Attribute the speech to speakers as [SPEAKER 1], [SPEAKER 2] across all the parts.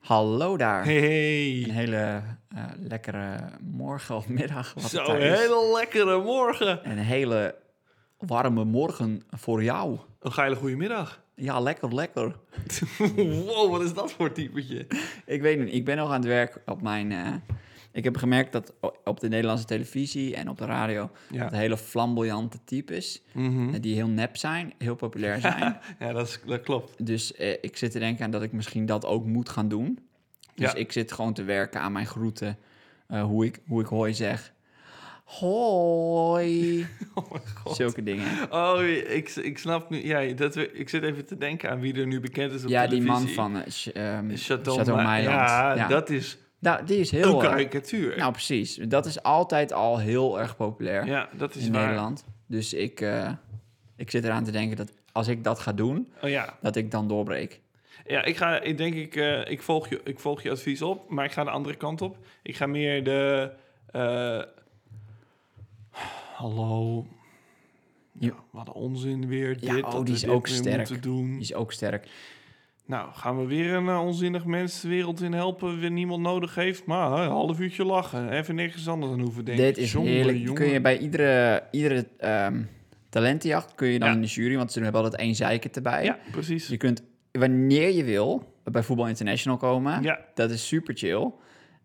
[SPEAKER 1] Hallo daar. Een
[SPEAKER 2] Hey.
[SPEAKER 1] hele eh, lekkere morgen of middag. Wat het
[SPEAKER 2] Zo,
[SPEAKER 1] daar
[SPEAKER 2] een
[SPEAKER 1] is.
[SPEAKER 2] hele lekkere morgen.
[SPEAKER 1] Een hele warme morgen voor jou.
[SPEAKER 2] Een geile goede middag.
[SPEAKER 1] Ja, lekker, lekker.
[SPEAKER 2] wow, wat is dat voor typetje?
[SPEAKER 1] Ik weet niet, ik ben nog aan het werk op mijn... eh, ik heb gemerkt dat o- op de Nederlandse televisie en op de radio...
[SPEAKER 2] Ja. Mhm. Hm.
[SPEAKER 1] dat hele flamboyante types, eh, die heel nep zijn, heel populair zijn.
[SPEAKER 2] Ja, dat, is, dat klopt.
[SPEAKER 1] dus eh, ik zit te denken aan dat ik misschien dat ook moet gaan doen. Dus
[SPEAKER 2] Ja.
[SPEAKER 1] ik zit gewoon te werken aan mijn groeten, eh, hoe, ik, hoe ik hoi zeg. Hoi.
[SPEAKER 2] Oh mijn god.
[SPEAKER 1] Zulke dingen.
[SPEAKER 2] Oh, ik, ik snap nu. Ja, dat, we- ik zit even te denken aan wie er nu bekend is op
[SPEAKER 1] Ja, die
[SPEAKER 2] televisie.
[SPEAKER 1] man van eh, Ch- ehm,
[SPEAKER 2] Chateau,
[SPEAKER 1] Chateau
[SPEAKER 2] Ma-
[SPEAKER 1] Meiland.
[SPEAKER 2] Ja, dat is
[SPEAKER 1] nou, die is
[SPEAKER 2] een
[SPEAKER 1] heel... eh,
[SPEAKER 2] karikatuur.
[SPEAKER 1] nou, precies. Dat is altijd al heel erg populair
[SPEAKER 2] ja, dat is
[SPEAKER 1] in
[SPEAKER 2] waar.
[SPEAKER 1] Nederland. Dus ik, eh, ik zit eraan te denken dat als ik dat ga doen,
[SPEAKER 2] Oh ja.
[SPEAKER 1] dat ik dan doorbreek.
[SPEAKER 2] Ja, ik ga, ik denk ik, eh, ik, volg je, ik volg je advies op, maar ik ga de andere kant op. Ik ga meer de. eh, hallo.
[SPEAKER 1] Ja.
[SPEAKER 2] Ja, wat een onzin weer.
[SPEAKER 1] Ja,
[SPEAKER 2] dit,
[SPEAKER 1] oh,
[SPEAKER 2] dat
[SPEAKER 1] die
[SPEAKER 2] we
[SPEAKER 1] is
[SPEAKER 2] dit
[SPEAKER 1] ook
[SPEAKER 2] weer
[SPEAKER 1] sterk.
[SPEAKER 2] Moeten doen.
[SPEAKER 1] Die is ook sterk.
[SPEAKER 2] Nou, gaan we weer een eh, onzinnig mens de wereld in helpen, weer niemand nodig heeft. Maar eh, een half uurtje lachen, even nergens anders aan hoeven denken.
[SPEAKER 1] Dit is
[SPEAKER 2] Jongen,
[SPEAKER 1] heerlijk.
[SPEAKER 2] jongen.
[SPEAKER 1] Kun je bij iedere, iedere ehm, talentenjacht kun je dan
[SPEAKER 2] Ja.
[SPEAKER 1] in de jury, want ze hebben altijd één zeiker erbij.
[SPEAKER 2] Ja, precies.
[SPEAKER 1] Dus je kunt wanneer je wil bij Voetbal International komen.
[SPEAKER 2] Ja,
[SPEAKER 1] Dat is super chill.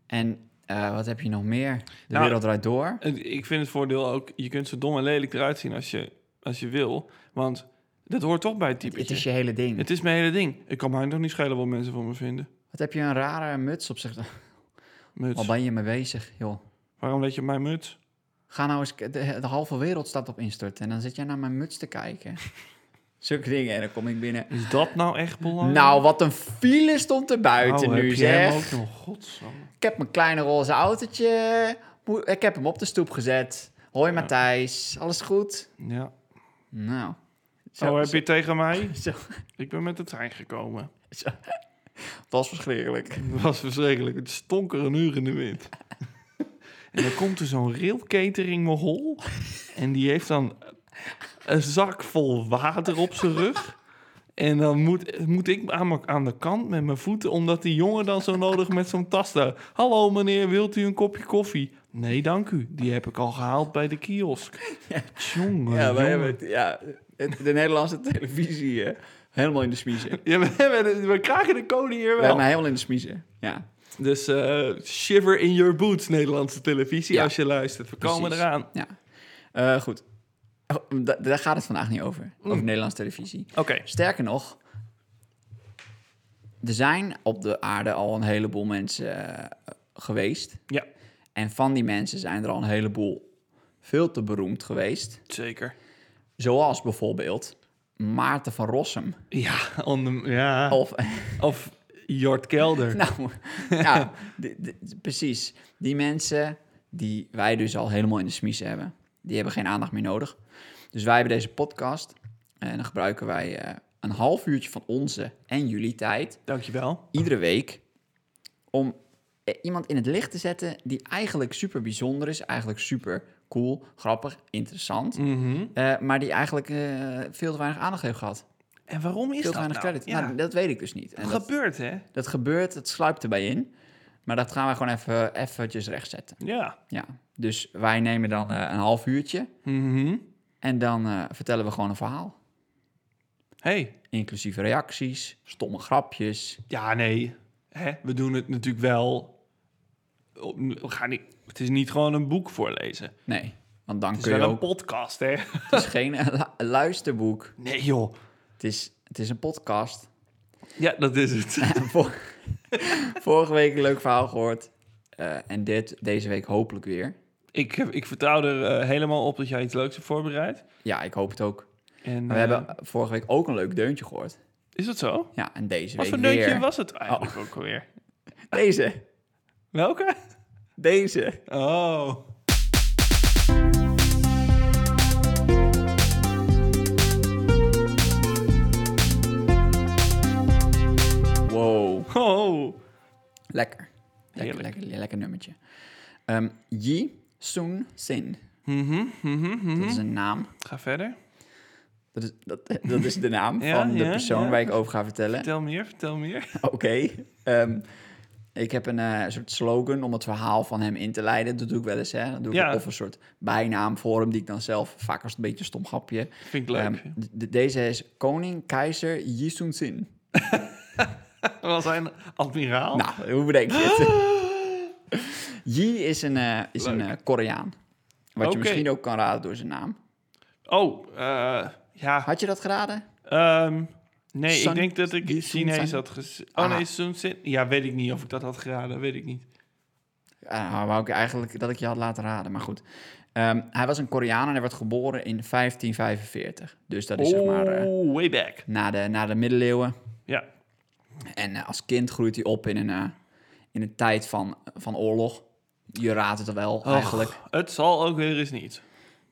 [SPEAKER 1] En eh, wat heb je nog meer? De
[SPEAKER 2] Nou,
[SPEAKER 1] wereld draait door.
[SPEAKER 2] En ik vind het voordeel ook, je kunt zo dom en lelijk eruit zien als je, als je wil. Want dat hoort toch bij het typetje.
[SPEAKER 1] Het is je hele ding.
[SPEAKER 2] Het is mijn hele ding. Ik kan mij nog niet schelen wat mensen van me vinden.
[SPEAKER 1] Wat heb je een rare muts op zich?
[SPEAKER 2] Muts.
[SPEAKER 1] Al ben je mee bezig, joh.
[SPEAKER 2] Waarom weet je mijn muts?
[SPEAKER 1] Ga nou eens, de, de halve wereld staat op instorten. En dan zit jij naar mijn muts te kijken. Zulke dingen. En dan kom ik binnen.
[SPEAKER 2] Is dat nou echt belangrijk?
[SPEAKER 1] Nou, wat een file stond er buiten
[SPEAKER 2] Oh,
[SPEAKER 1] nu,
[SPEAKER 2] heb je hem
[SPEAKER 1] zeg.
[SPEAKER 2] ook nog? Godsamme.
[SPEAKER 1] Ik heb mijn kleine roze autootje. Moe- Ik heb hem op de stoep gezet. Hoi Matthijs, alles goed?
[SPEAKER 2] Ja.
[SPEAKER 1] Nou.
[SPEAKER 2] oh, heb je tegen mij?
[SPEAKER 1] zo-
[SPEAKER 2] Ik ben met de trein gekomen.
[SPEAKER 1] zo- Het was verschrikkelijk.
[SPEAKER 2] Het was verschrikkelijk. Het stonk er een uur in de wind. en dan komt er zo'n railcatering mogol. En die heeft dan een zak vol water op zijn rug. En dan moet, moet ik aan, mijn- aan de kant met mijn voeten, omdat die jongen dan zo nodig met zo'n tas daar. Hallo meneer, wilt u een kopje koffie? Nee, dank u. Die heb ik al gehaald bij de kiosk. Jongen,
[SPEAKER 1] Ja, wij
[SPEAKER 2] jongen.
[SPEAKER 1] hebben het, ja, het- de Nederlandse televisie hè, helemaal in de smiezen.
[SPEAKER 2] Ja, we, hebben- we kraken de code hier
[SPEAKER 1] We
[SPEAKER 2] wel.
[SPEAKER 1] hebben helemaal in de smiezen, ja.
[SPEAKER 2] Dus eh, shiver in your boots, Nederlandse televisie,
[SPEAKER 1] Ja.
[SPEAKER 2] als je luistert. We komen
[SPEAKER 1] Precies.
[SPEAKER 2] eraan.
[SPEAKER 1] ja. Eh, goed, Oh, da- daar gaat het vandaag niet over,
[SPEAKER 2] Mm.
[SPEAKER 1] over Nederlandse televisie.
[SPEAKER 2] Oké.
[SPEAKER 1] Sterker nog, er zijn op de aarde al een heleboel mensen eh, geweest.
[SPEAKER 2] Ja,
[SPEAKER 1] En van die mensen zijn er al een heleboel veel te beroemd geweest.
[SPEAKER 2] zeker.
[SPEAKER 1] Zoals bijvoorbeeld Maarten van Rossum.
[SPEAKER 2] Ja, on the- ja. Of,
[SPEAKER 1] Of,
[SPEAKER 2] Jort Kelder.
[SPEAKER 1] nou, nou d- d- precies. Die mensen die wij dus al helemaal in de smies hebben, die hebben geen aandacht meer nodig. Dus wij hebben deze podcast en dan gebruiken wij eh, een half uurtje van onze en jullie tijd
[SPEAKER 2] Dankjewel.
[SPEAKER 1] iedere week om eh, iemand in het licht te zetten die eigenlijk super bijzonder is, eigenlijk super cool, grappig, interessant,
[SPEAKER 2] Mhm.
[SPEAKER 1] eh, maar die eigenlijk eh, veel te weinig aandacht heeft gehad.
[SPEAKER 2] En waarom is
[SPEAKER 1] Veel te
[SPEAKER 2] dat
[SPEAKER 1] weinig
[SPEAKER 2] nou?
[SPEAKER 1] credit.
[SPEAKER 2] Ja,
[SPEAKER 1] Nou, dat weet ik dus niet. En
[SPEAKER 2] dat
[SPEAKER 1] dat,
[SPEAKER 2] gebeurt, hè?
[SPEAKER 1] dat gebeurt, dat sluipt erbij in. Maar dat gaan wij gewoon even eventjes rechtzetten.
[SPEAKER 2] Ja.
[SPEAKER 1] Ja. Dus wij nemen dan eh, een half uurtje
[SPEAKER 2] Mhm.
[SPEAKER 1] en dan eh, vertellen we gewoon een verhaal.
[SPEAKER 2] hey.
[SPEAKER 1] Inclusief reacties, stomme grapjes.
[SPEAKER 2] ja, nee. Hè? We doen het natuurlijk wel... op- We gaan niet... Het is niet gewoon een boek voorlezen. Het
[SPEAKER 1] Nee, want dan
[SPEAKER 2] is
[SPEAKER 1] kun je
[SPEAKER 2] wel
[SPEAKER 1] ook...
[SPEAKER 2] een podcast, hè?
[SPEAKER 1] Het is geen lu- luisterboek.
[SPEAKER 2] Nee, joh.
[SPEAKER 1] Het is, het is een podcast.
[SPEAKER 2] Ja, dat is het.
[SPEAKER 1] Vor- Vorige week een leuk verhaal gehoord. Eh, en dit, deze week hopelijk weer.
[SPEAKER 2] ik, ik vertrouw er eh, helemaal op dat jij iets leuks hebt voorbereid.
[SPEAKER 1] Ja, ik hoop het ook.
[SPEAKER 2] En,
[SPEAKER 1] Maar
[SPEAKER 2] eh,
[SPEAKER 1] we hebben vorige week ook een leuk deuntje gehoord.
[SPEAKER 2] Is dat zo?
[SPEAKER 1] Ja, en deze
[SPEAKER 2] Wat
[SPEAKER 1] week
[SPEAKER 2] voor
[SPEAKER 1] weer. Oh.
[SPEAKER 2] deuntje was het eigenlijk ook alweer?
[SPEAKER 1] Deze.
[SPEAKER 2] Welke?
[SPEAKER 1] Deze.
[SPEAKER 2] Oh.
[SPEAKER 1] Wow.
[SPEAKER 2] Oh.
[SPEAKER 1] Lekker. Lekker,
[SPEAKER 2] Heerlijk.
[SPEAKER 1] lekker, lekker nummertje. Ehm Yi Soon Sin.
[SPEAKER 2] Mhm,
[SPEAKER 1] Dat is een naam.
[SPEAKER 2] Ga verder.
[SPEAKER 1] Dat is, dat, dat is de naam
[SPEAKER 2] Ja,
[SPEAKER 1] van de
[SPEAKER 2] ja,
[SPEAKER 1] persoon
[SPEAKER 2] ja.
[SPEAKER 1] waar ik over ga vertellen.
[SPEAKER 2] Vertel meer, vertel meer.
[SPEAKER 1] Oké. ehm, Ik heb een eh, soort slogan om het verhaal van hem in te leiden. Dat doe ik wel eens. Hè? Dan doe ik
[SPEAKER 2] Ja.
[SPEAKER 1] of een soort bijnaam voor hem, die ik dan zelf vaak als een beetje een stom grapje.
[SPEAKER 2] Vind ik leuk.
[SPEAKER 1] Ehm, d- d- deze is Koning Keizer Yisun Sin.
[SPEAKER 2] Was hij een admiraal?
[SPEAKER 1] Nou, hoe bedenk je het? Yi is een, eh, is een
[SPEAKER 2] Leuk.
[SPEAKER 1] eh, Koreaan. Wat
[SPEAKER 2] Oké.
[SPEAKER 1] je misschien ook kan raden door zijn naam.
[SPEAKER 2] Oh, eh, ja.
[SPEAKER 1] Had je dat geraden?
[SPEAKER 2] ehm, nee,
[SPEAKER 1] Sun-
[SPEAKER 2] ik denk dat ik
[SPEAKER 1] Sun-
[SPEAKER 2] Chinees
[SPEAKER 1] Sun-
[SPEAKER 2] had gezien. Oh
[SPEAKER 1] Ah.
[SPEAKER 2] nee, Sun Sin. Ja, weet ik niet of ik dat had geraden. Weet ik niet.
[SPEAKER 1] Ah, wou ik eigenlijk dat ik je had laten raden, maar goed. Ehm, hij was een Koreaan en hij werd geboren in 1545. Dus dat is zeg maar eh,
[SPEAKER 2] Oh, way back.
[SPEAKER 1] na, de, na de middeleeuwen.
[SPEAKER 2] Ja.
[SPEAKER 1] En eh, als kind groeit hij op in een, eh, in een tijd van, van oorlog. Je raadt het wel eigenlijk.
[SPEAKER 2] Och, het zal ook weer eens niet.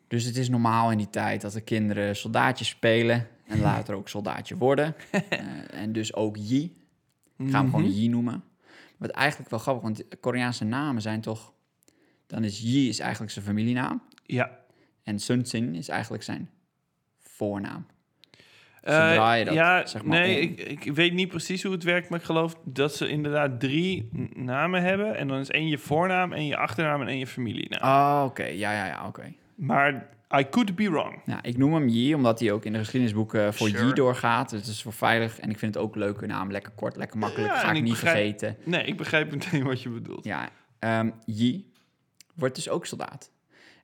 [SPEAKER 1] Dus het is normaal in die tijd dat de kinderen soldaatjes spelen en later ook soldaatje worden. Eh, en dus ook Yi. Ik ga hem
[SPEAKER 2] Mhm.
[SPEAKER 1] gewoon Yi noemen. Wat eigenlijk wel grappig, want Koreaanse namen zijn toch... Dan is Yi is eigenlijk zijn familienaam.
[SPEAKER 2] Ja.
[SPEAKER 1] En Sun Sin is eigenlijk zijn voornaam.
[SPEAKER 2] Eh,
[SPEAKER 1] draai je dat,
[SPEAKER 2] ja,
[SPEAKER 1] zeg maar,
[SPEAKER 2] nee,
[SPEAKER 1] om.
[SPEAKER 2] ik, ik weet niet precies hoe het werkt, maar ik geloof dat ze inderdaad drie n- namen hebben. En dan is één je voornaam, één je achternaam en één je familienaam.
[SPEAKER 1] Oh, oké. Ja, ja, ja, oké.
[SPEAKER 2] Maar I could be wrong.
[SPEAKER 1] Nou, ik noem hem Yi, omdat hij ook in de geschiedenisboeken voor
[SPEAKER 2] Sure.
[SPEAKER 1] Yi doorgaat. Dus het is voor veilig. En ik vind het ook een leuke naam. Lekker kort, lekker makkelijk.
[SPEAKER 2] Ja,
[SPEAKER 1] Ga
[SPEAKER 2] en
[SPEAKER 1] ik
[SPEAKER 2] ik
[SPEAKER 1] niet
[SPEAKER 2] begrijp-
[SPEAKER 1] vergeten.
[SPEAKER 2] Nee, ik begrijp meteen wat je bedoelt.
[SPEAKER 1] Ja, ehm Yi wordt dus ook soldaat.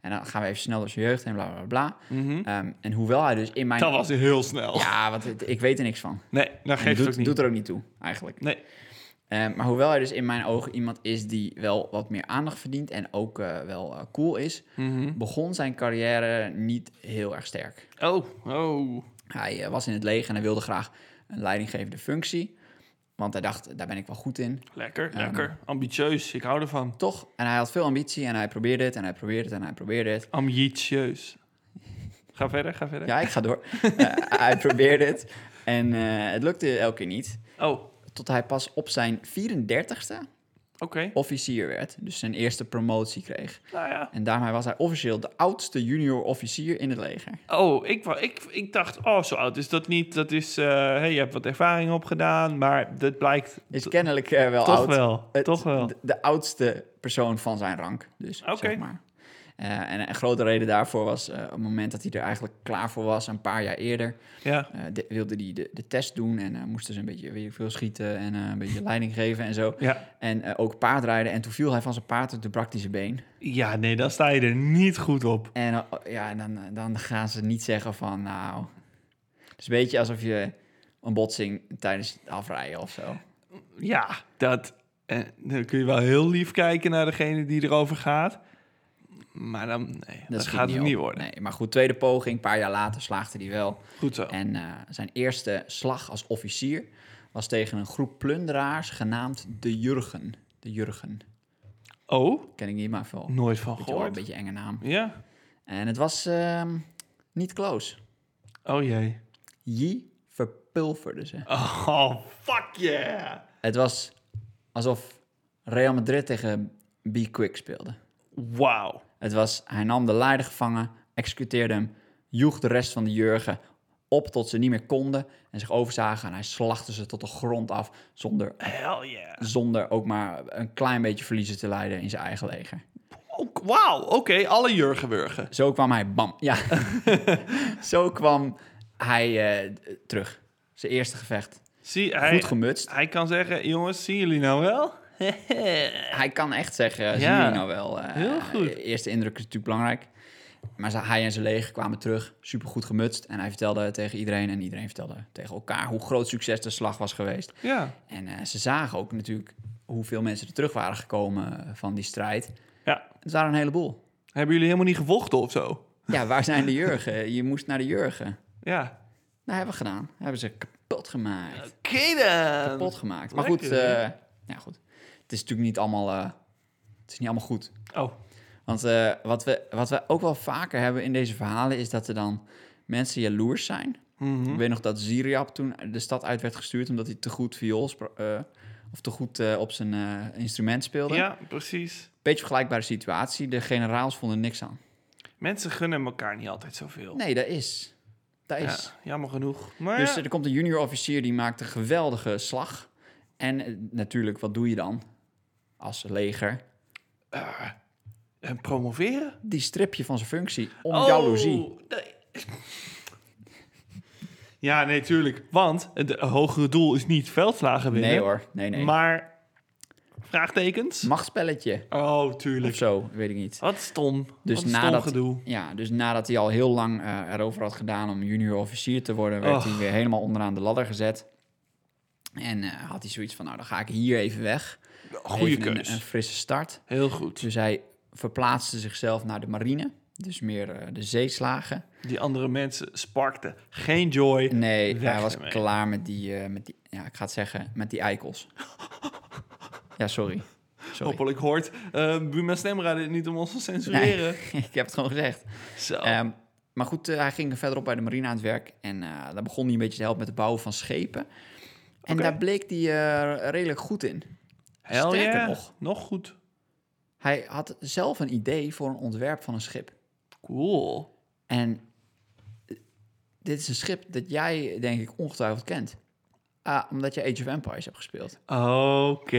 [SPEAKER 1] En dan gaan we even snel door zijn jeugd en bla bla bla.
[SPEAKER 2] Mhm.
[SPEAKER 1] Ehm, en hoewel hij dus in mijn.
[SPEAKER 2] Dat was heel snel.
[SPEAKER 1] Ja, want het- ik weet er niks van.
[SPEAKER 2] Nee, dat
[SPEAKER 1] En het
[SPEAKER 2] geeft
[SPEAKER 1] doet,
[SPEAKER 2] ook niet.
[SPEAKER 1] doet er ook niet toe, eigenlijk.
[SPEAKER 2] Nee.
[SPEAKER 1] Ehm, maar hoewel hij dus in mijn ogen iemand is die wel wat meer aandacht verdient en ook eh, wel eh, cool is,
[SPEAKER 2] Mhm.
[SPEAKER 1] begon zijn carrière niet heel erg sterk.
[SPEAKER 2] Oh, oh.
[SPEAKER 1] Hij eh, was in het leger en hij wilde graag een leidinggevende functie. Want hij dacht, daar ben ik wel goed in.
[SPEAKER 2] Lekker, lekker. Ambitieus, ik hou ervan.
[SPEAKER 1] Toch? En hij had veel ambitie en hij probeerde het en hij probeerde het en hij probeerde het.
[SPEAKER 2] Ambitieus. Ga verder, ga verder.
[SPEAKER 1] Ja, ik ga door. Eh, hij probeerde het en eh, het lukte elke keer niet.
[SPEAKER 2] Oh, oké.
[SPEAKER 1] Tot hij pas op zijn 34ste officier werd. Dus zijn eerste promotie kreeg.
[SPEAKER 2] Nou ja.
[SPEAKER 1] En daarmee was hij officieel de oudste junior officier in het leger.
[SPEAKER 2] Oh, ik, wou- ik, ik dacht, oh, zo oud is dat niet. Dat is, eh, hey, je hebt wat ervaring opgedaan, maar dat blijkt
[SPEAKER 1] Is kennelijk eh, wel
[SPEAKER 2] toch
[SPEAKER 1] oud.
[SPEAKER 2] wel.
[SPEAKER 1] Het-
[SPEAKER 2] toch wel.
[SPEAKER 1] De, de oudste persoon van zijn rank, dus
[SPEAKER 2] Oké.
[SPEAKER 1] zeg maar. Eh, en een grote reden daarvoor was eh het moment dat hij er eigenlijk klaar voor was, een paar jaar eerder.
[SPEAKER 2] Ja.
[SPEAKER 1] eh, de- wilde hij de, de test doen en eh, moesten ze een beetje weet ik veel schieten en eh, een beetje leiding geven en zo.
[SPEAKER 2] Ja.
[SPEAKER 1] En eh, ook paardrijden. En toen viel hij van zijn paard en toen brak hij zijn been.
[SPEAKER 2] ja, nee, dan sta je er niet goed op.
[SPEAKER 1] En eh, ja, en dan, dan gaan ze niet zeggen van, nou... Het is een beetje alsof je een botsing tijdens het afrijden of zo.
[SPEAKER 2] Ja, dat. En dan kun je wel heel lief kijken naar degene die erover gaat. Maar dan, nee, dat,
[SPEAKER 1] schiet
[SPEAKER 2] gaat het
[SPEAKER 1] op.
[SPEAKER 2] niet worden. Oh.
[SPEAKER 1] Nee, maar goed, tweede poging. Een paar jaar later slaagde hij wel.
[SPEAKER 2] Goed zo.
[SPEAKER 1] En eh, zijn eerste slag als officier was tegen een groep plunderaars genaamd de Jurgen. De Jurgen.
[SPEAKER 2] Oh,
[SPEAKER 1] Ken ik niet, maar veel.
[SPEAKER 2] nooit van
[SPEAKER 1] Weet je wel, een
[SPEAKER 2] gehoord.
[SPEAKER 1] beetje enge naam.
[SPEAKER 2] Ja.
[SPEAKER 1] En het was ehm, niet close.
[SPEAKER 2] Oh jee.
[SPEAKER 1] Yi verpulverde ze.
[SPEAKER 2] Oh, fuck yeah.
[SPEAKER 1] Het was alsof Real Madrid tegen Be Quick speelde.
[SPEAKER 2] Wauw.
[SPEAKER 1] Het was, hij nam de leider gevangen, executeerde hem, joeg de rest van de jurgen op tot ze niet meer konden en zich overzagen. En hij slachtte ze tot de grond af zonder,
[SPEAKER 2] Hell yeah.
[SPEAKER 1] zonder ook maar een klein beetje verliezen te leiden in zijn eigen leger.
[SPEAKER 2] Oh, Wauw, oké, alle jurgenwurgen.
[SPEAKER 1] Zo kwam hij, bam, ja. Zo kwam hij eh, terug. Zijn eerste gevecht.
[SPEAKER 2] Zie,
[SPEAKER 1] Goed
[SPEAKER 2] hij,
[SPEAKER 1] gemutst.
[SPEAKER 2] hij kan zeggen, jongens, zien jullie nou wel?
[SPEAKER 1] Hij kan echt zeggen, zien
[SPEAKER 2] Ja.
[SPEAKER 1] jullie nou wel. eh,
[SPEAKER 2] Heel goed.
[SPEAKER 1] Eerste indruk is natuurlijk belangrijk. Maar ze- hij en zijn leger kwamen terug, supergoed gemutst. En hij vertelde tegen iedereen en iedereen vertelde tegen elkaar... hoe groot succes de slag was geweest.
[SPEAKER 2] ja.
[SPEAKER 1] En eh, ze zagen ook natuurlijk hoeveel mensen er terug waren gekomen van die strijd.
[SPEAKER 2] ja.
[SPEAKER 1] Het waren een heleboel.
[SPEAKER 2] Hebben jullie helemaal niet gevochten of zo?
[SPEAKER 1] Ja, waar zijn de jurgen? Je moest naar de jurgen.
[SPEAKER 2] Ja.
[SPEAKER 1] Nou, hebben we gedaan. Hebben ze kapot gemaakt.
[SPEAKER 2] Oké dan.
[SPEAKER 1] kapot gemaakt. Maar
[SPEAKER 2] lekker,
[SPEAKER 1] goed,
[SPEAKER 2] hè?
[SPEAKER 1] eh, ja, goed, het is natuurlijk niet allemaal, eh, het is niet allemaal goed.
[SPEAKER 2] Oh,
[SPEAKER 1] Want eh, wat, we, wat we ook wel vaker hebben in deze verhalen is dat er dan mensen jaloers zijn.
[SPEAKER 2] Hm? Mhm.
[SPEAKER 1] Ik weet nog dat Ziriab toen de stad uit werd gestuurd omdat hij te goed viool spra- eh, of te goed eh, op zijn eh, instrument speelde.
[SPEAKER 2] ja, precies.
[SPEAKER 1] Beetje vergelijkbare situatie. De generaals vonden niks aan.
[SPEAKER 2] Mensen gunnen elkaar niet altijd zoveel.
[SPEAKER 1] Nee, dat is. Dat is.
[SPEAKER 2] Ja, jammer genoeg. Maar
[SPEAKER 1] Dus
[SPEAKER 2] ja.
[SPEAKER 1] er komt een junior officier die maakt een geweldige slag. En eh, natuurlijk, wat doe je dan? als leger,
[SPEAKER 2] Eh, en promoveren?
[SPEAKER 1] die strip je van zijn functie om
[SPEAKER 2] Oh,
[SPEAKER 1] jaloezie.
[SPEAKER 2] nee. Ja, nee, tuurlijk. Want het hogere doel is niet veldslagen winnen.
[SPEAKER 1] Nee hoor, nee, nee.
[SPEAKER 2] Maar vraagtekens?
[SPEAKER 1] Machtspelletje
[SPEAKER 2] Oh,
[SPEAKER 1] of
[SPEAKER 2] tuurlijk.
[SPEAKER 1] zo, weet ik niet.
[SPEAKER 2] Wat stom.
[SPEAKER 1] Dus
[SPEAKER 2] Wat stom
[SPEAKER 1] nadat-
[SPEAKER 2] gedoe.
[SPEAKER 1] Ja, dus nadat hij al heel lang eh, erover had gedaan om junior officier te worden, werd
[SPEAKER 2] Och.
[SPEAKER 1] hij weer helemaal onderaan de ladder gezet. En eh, had hij zoiets van, nou dan ga ik hier even weg.
[SPEAKER 2] Goeie
[SPEAKER 1] Even een-
[SPEAKER 2] keus.
[SPEAKER 1] Een, frisse start.
[SPEAKER 2] Heel goed.
[SPEAKER 1] Dus hij verplaatste zichzelf naar de marine. Dus meer eh, de zeeslagen.
[SPEAKER 2] Die andere mensen sparkten geen joy.
[SPEAKER 1] Nee,
[SPEAKER 2] Weg
[SPEAKER 1] hij was
[SPEAKER 2] ermee.
[SPEAKER 1] klaar met die, eh, met die, ja, ik ga het zeggen, met die eikels. ja, sorry. sorry.
[SPEAKER 2] Hopelijk hoort eh Buma Stemra dit niet om ons te censureren.
[SPEAKER 1] ik heb het gewoon gezegd.
[SPEAKER 2] Zo.
[SPEAKER 1] Ehm, maar goed, eh, hij ging verderop bij de marine aan het werk. En eh, daar begon hij een beetje te helpen met het bouwen van schepen. En
[SPEAKER 2] Oké.
[SPEAKER 1] daar bleek hij eh, redelijk goed in.
[SPEAKER 2] Hell
[SPEAKER 1] sterker
[SPEAKER 2] yeah.
[SPEAKER 1] nog.
[SPEAKER 2] Nog goed.
[SPEAKER 1] Hij had zelf een idee voor een ontwerp van een schip.
[SPEAKER 2] Cool.
[SPEAKER 1] En eh, dit is een schip dat jij, denk ik, ongetwijfeld kent. Ah, omdat je Age of Empires hebt gespeeld.
[SPEAKER 2] Oké.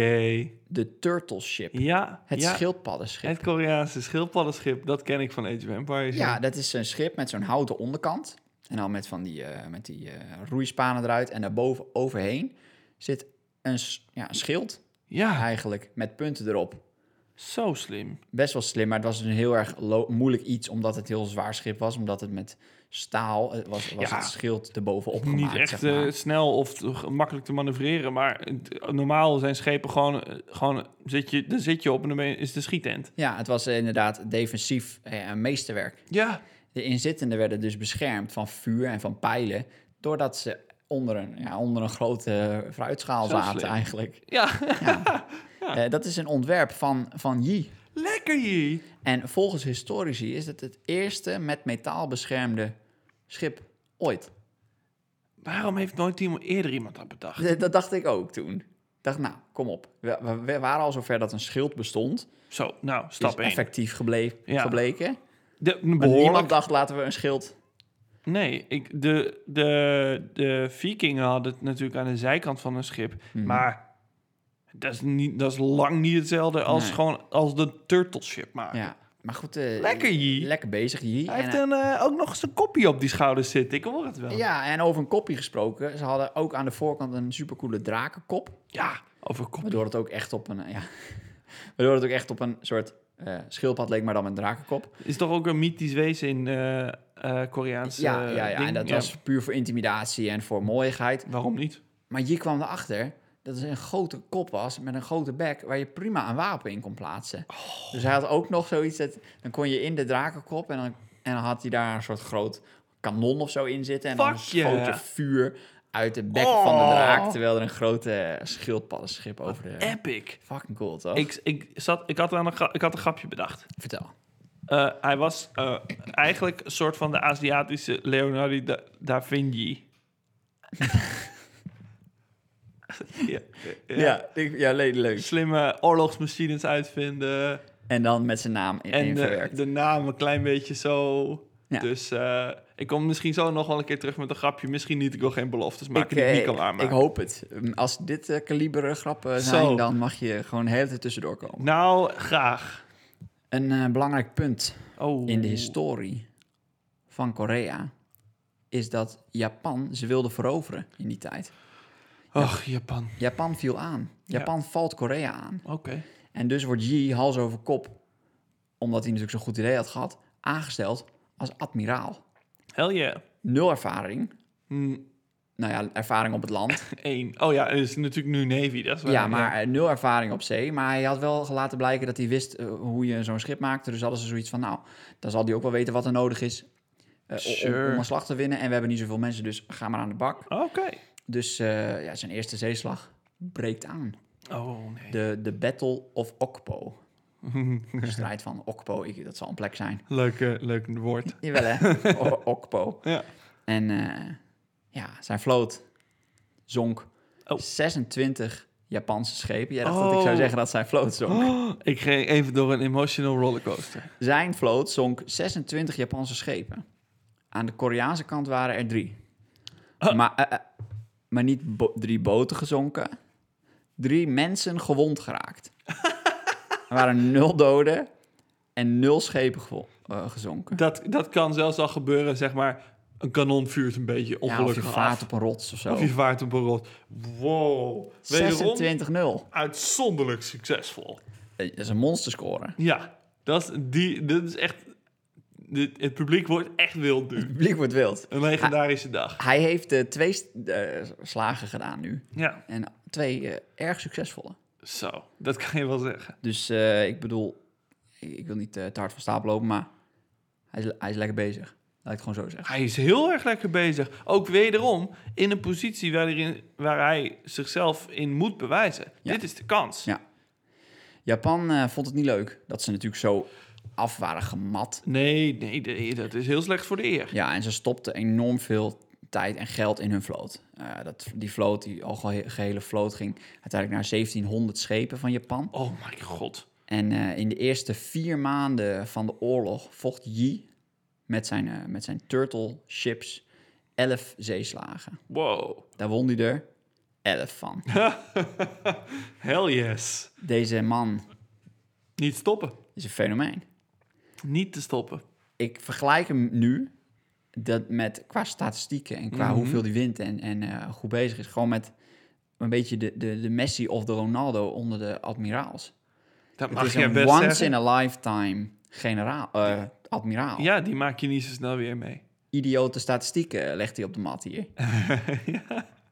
[SPEAKER 1] De Turtle Ship.
[SPEAKER 2] Ja.
[SPEAKER 1] Het
[SPEAKER 2] ja.
[SPEAKER 1] schildpaddenschip.
[SPEAKER 2] Het Koreaanse schildpaddenschip, dat ken ik van Age of Empires.
[SPEAKER 1] Ja, dat is een schip met zo'n houten onderkant. En dan met van die, eh, met die eh, roeispanen eruit. En daarboven overheen zit een, s- ja, een schild
[SPEAKER 2] Ja,
[SPEAKER 1] eigenlijk met punten erop.
[SPEAKER 2] zo slim.
[SPEAKER 1] Best wel slim, maar het was dus een heel erg lo- moeilijk iets... omdat het heel zwaar schip was. Omdat het met staal eh, was, was
[SPEAKER 2] Ja.
[SPEAKER 1] het schild erbovenop gemaakt.
[SPEAKER 2] Niet echt
[SPEAKER 1] zeg maar.
[SPEAKER 2] eh, snel of te- makkelijk te manoeuvreren, maar het- normaal zijn schepen gewoon, eh, gewoon zit je, dan zit je op en dan ben je- is de schietent.
[SPEAKER 1] Ja, het was eh, inderdaad defensief eh, een meesterwerk.
[SPEAKER 2] Ja,
[SPEAKER 1] De inzittenden werden dus beschermd van vuur en van pijlen... doordat ze onder een, ja, onder een grote eh, fruitschaal
[SPEAKER 2] Zo
[SPEAKER 1] zaten
[SPEAKER 2] slim.
[SPEAKER 1] eigenlijk.
[SPEAKER 2] ja.
[SPEAKER 1] Eh, dat is een ontwerp van, van Yi.
[SPEAKER 2] Lekker je.
[SPEAKER 1] En volgens historici is het het eerste met metaal beschermde schip ooit.
[SPEAKER 2] Waarom heeft nooit iemand eerder iemand dat bedacht?
[SPEAKER 1] D- Dat dacht ik ook toen. Ik dacht, nou, kom op. We, we- we waren al zover dat een schild bestond.
[SPEAKER 2] Zo, nou,
[SPEAKER 1] Dat
[SPEAKER 2] stap
[SPEAKER 1] is
[SPEAKER 2] 1.
[SPEAKER 1] effectief geble-
[SPEAKER 2] Ja.
[SPEAKER 1] gebleken.
[SPEAKER 2] De,
[SPEAKER 1] Maar niemand
[SPEAKER 2] behoorlijk.
[SPEAKER 1] dacht, laten we een schild...
[SPEAKER 2] Nee, ik, de, de, de vikingen hadden het natuurlijk aan de zijkant van hun schip.
[SPEAKER 1] Mhm.
[SPEAKER 2] Maar dat is, niet, dat is lang niet hetzelfde als,
[SPEAKER 1] Nee.
[SPEAKER 2] gewoon, als de turtle ship maken.
[SPEAKER 1] Ja, maar goed. eh,
[SPEAKER 2] Ah. Lekker, Yi.
[SPEAKER 1] Lekker bezig, Yi.
[SPEAKER 2] Hij
[SPEAKER 1] En,
[SPEAKER 2] heeft
[SPEAKER 1] eh,
[SPEAKER 2] een, eh, ook nog eens een kopje op die schouder zitten. Ik hoor het wel.
[SPEAKER 1] ja, en over een kopje gesproken. Ze hadden ook aan de voorkant een supercoole drakenkop.
[SPEAKER 2] Ja, over kop.
[SPEAKER 1] Waardoor het ook echt op een, eh, ja, waardoor het ook echt op een soort eh, schildpad leek, maar dan met een drakenkop.
[SPEAKER 2] Is toch ook een mythisch wezen in eh eh, Koreaanse
[SPEAKER 1] ja, ja, ja.
[SPEAKER 2] ding?
[SPEAKER 1] en dat
[SPEAKER 2] Ja,
[SPEAKER 1] was puur voor intimidatie en voor mooiigheid.
[SPEAKER 2] Waarom niet?
[SPEAKER 1] Maar je kwam erachter dat het een grote kop was met een grote bek... waar je prima een wapen in kon plaatsen.
[SPEAKER 2] Oh.
[SPEAKER 1] Dus hij had ook nog zoiets dat... dan kon je in de drakenkop en dan, en dan had hij daar een soort groot kanon of zo in zitten... en dan
[SPEAKER 2] Fuck yeah.
[SPEAKER 1] schoot je vuur uit de bek van de
[SPEAKER 2] Oh.
[SPEAKER 1] draak... terwijl er een grote schildpaddenschip over de...
[SPEAKER 2] Epic.
[SPEAKER 1] Fucking cool, toch?
[SPEAKER 2] Ik, ik, zat, ik, had aan een gra- ik had een grapje bedacht.
[SPEAKER 1] Vertel.
[SPEAKER 2] Eh, hij was eh, eigenlijk een soort van de Aziatische Leonardo da, da Vinci. ja, ja.
[SPEAKER 1] ik- ja le- leuk.
[SPEAKER 2] Slimme oorlogsmachines uitvinden.
[SPEAKER 1] En dan met zijn naam in,
[SPEAKER 2] En eh,
[SPEAKER 1] in
[SPEAKER 2] de,
[SPEAKER 1] verwerkt.
[SPEAKER 2] de naam een klein beetje zo.
[SPEAKER 1] Ja.
[SPEAKER 2] Dus eh, ik kom misschien zo nog wel een keer terug met een grapje. Misschien niet. Ik wil geen beloftes
[SPEAKER 1] eh,
[SPEAKER 2] maken die ik niet kan aanmaken.
[SPEAKER 1] ik hoop het. Um, Als dit eh, kaliber grappen zijn,
[SPEAKER 2] Zo.
[SPEAKER 1] dan mag je gewoon de hele tijd tussendoor komen.
[SPEAKER 2] Nou, graag.
[SPEAKER 1] Een eh, belangrijk punt
[SPEAKER 2] Oh.
[SPEAKER 1] in de historie van Korea is dat Japan ze wilde veroveren in die tijd.
[SPEAKER 2] Ach, Japan.
[SPEAKER 1] Japan viel aan.
[SPEAKER 2] Ja.
[SPEAKER 1] Japan valt Korea aan.
[SPEAKER 2] Oké.
[SPEAKER 1] En dus wordt Yi hals over kop, omdat hij natuurlijk zo'n goed idee had gehad, aangesteld als admiraal.
[SPEAKER 2] Hell yeah.
[SPEAKER 1] Nul ervaring.
[SPEAKER 2] Mm,
[SPEAKER 1] Nou ja, ervaring op het land.
[SPEAKER 2] één. Oh ja, er is natuurlijk nu Navy. Dat is waar.
[SPEAKER 1] Ja, maar eh, nul ervaring op zee. Maar hij had wel laten blijken dat hij wist eh, hoe je zo'n schip maakte. Dus hadden ze zoiets van, nou, dan zal hij ook wel weten wat er nodig is eh, o- om-
[SPEAKER 2] Sure.
[SPEAKER 1] om een slag te winnen. En we hebben niet zoveel mensen, dus ga maar aan de bak.
[SPEAKER 2] Oké.
[SPEAKER 1] Dus eh, ja, zijn eerste zeeslag breekt aan.
[SPEAKER 2] Oh nee.
[SPEAKER 1] De, de Battle of Okpo. De strijd van Okpo, ik, dat zal een plek zijn.
[SPEAKER 2] Leuk, eh, leuk woord.
[SPEAKER 1] Jawel hè, O- Okpo.
[SPEAKER 2] Ja.
[SPEAKER 1] En eh, ja, zijn vloot zonk
[SPEAKER 2] Oh.
[SPEAKER 1] 26 Japanse schepen. Jij dacht dat ik zou
[SPEAKER 2] Oh.
[SPEAKER 1] zeggen dat zijn vloot zonk.
[SPEAKER 2] ik ging even door een emotional rollercoaster.
[SPEAKER 1] Zijn vloot zonk 26 Japanse schepen. Aan de Koreaanse kant waren er drie. Maar, eh, eh, maar niet bo- drie boten gezonken. Drie mensen gewond geraakt. Er waren nul doden en nul schepen gevo- eh, gezonken.
[SPEAKER 2] Dat, dat kan zelfs al gebeuren, zeg maar. Een kanon vuurt een beetje
[SPEAKER 1] Ja, of je
[SPEAKER 2] ongelukkig
[SPEAKER 1] vaart
[SPEAKER 2] af.
[SPEAKER 1] op een rots of zo.
[SPEAKER 2] Of je vaart op een rot. Wow. Wederom
[SPEAKER 1] 26-0.
[SPEAKER 2] uitzonderlijk succesvol.
[SPEAKER 1] Eh, Dat is een monsterscore.
[SPEAKER 2] Ja, dat is, die, dat is echt... dit- het publiek wordt echt wild
[SPEAKER 1] Het
[SPEAKER 2] nu.
[SPEAKER 1] publiek wordt wild.
[SPEAKER 2] Een legendarische dag.
[SPEAKER 1] Hij heeft eh, twee st- eh, slagen gedaan nu.
[SPEAKER 2] Ja,
[SPEAKER 1] En twee eh, erg succesvolle.
[SPEAKER 2] zo. Dat kan je wel zeggen.
[SPEAKER 1] Dus eh, ik bedoel, ik, ik wil niet eh, te hard van stapel lopen, maar hij is, hij is lekker bezig. Laat ik het gewoon zo zeggen.
[SPEAKER 2] Hij is heel erg lekker bezig. Ook wederom in een positie waarin, waar hij zichzelf in moet bewijzen.
[SPEAKER 1] Ja.
[SPEAKER 2] Dit is de kans.
[SPEAKER 1] Ja. Japan eh, vond het niet leuk dat ze natuurlijk zo af waren gemat.
[SPEAKER 2] Nee, nee, nee, dat is heel slecht voor de eer.
[SPEAKER 1] Ja, en ze stopten enorm veel tijd en geld in hun vloot. Eh, dat, die vloot, die al gehe- gehele vloot, ging uiteindelijk naar 1700 schepen van Japan.
[SPEAKER 2] Oh mijn god.
[SPEAKER 1] En eh, in de eerste vier maanden van de oorlog vocht Yi met zijn, eh, met zijn turtle ships elf zeeslagen.
[SPEAKER 2] Wow.
[SPEAKER 1] Daar won hij er elf van.
[SPEAKER 2] Hell yes.
[SPEAKER 1] Deze man
[SPEAKER 2] Niet stoppen.
[SPEAKER 1] is een fenomeen.
[SPEAKER 2] Niet te stoppen.
[SPEAKER 1] Ik vergelijk hem nu dat met, qua statistieken en qua
[SPEAKER 2] Mhm.
[SPEAKER 1] hoeveel hij wint en, en eh, goed bezig is. Gewoon met een beetje de, de, de Messi of de Ronaldo onder de admiraals.
[SPEAKER 2] Dat
[SPEAKER 1] Het
[SPEAKER 2] mag
[SPEAKER 1] is
[SPEAKER 2] je
[SPEAKER 1] een
[SPEAKER 2] best
[SPEAKER 1] once
[SPEAKER 2] zeggen.
[SPEAKER 1] in a lifetime generaal, eh, admiraal.
[SPEAKER 2] Ja, die maak je niet zo snel weer mee.
[SPEAKER 1] Idiote statistieken eh, legt hij op de mat hier.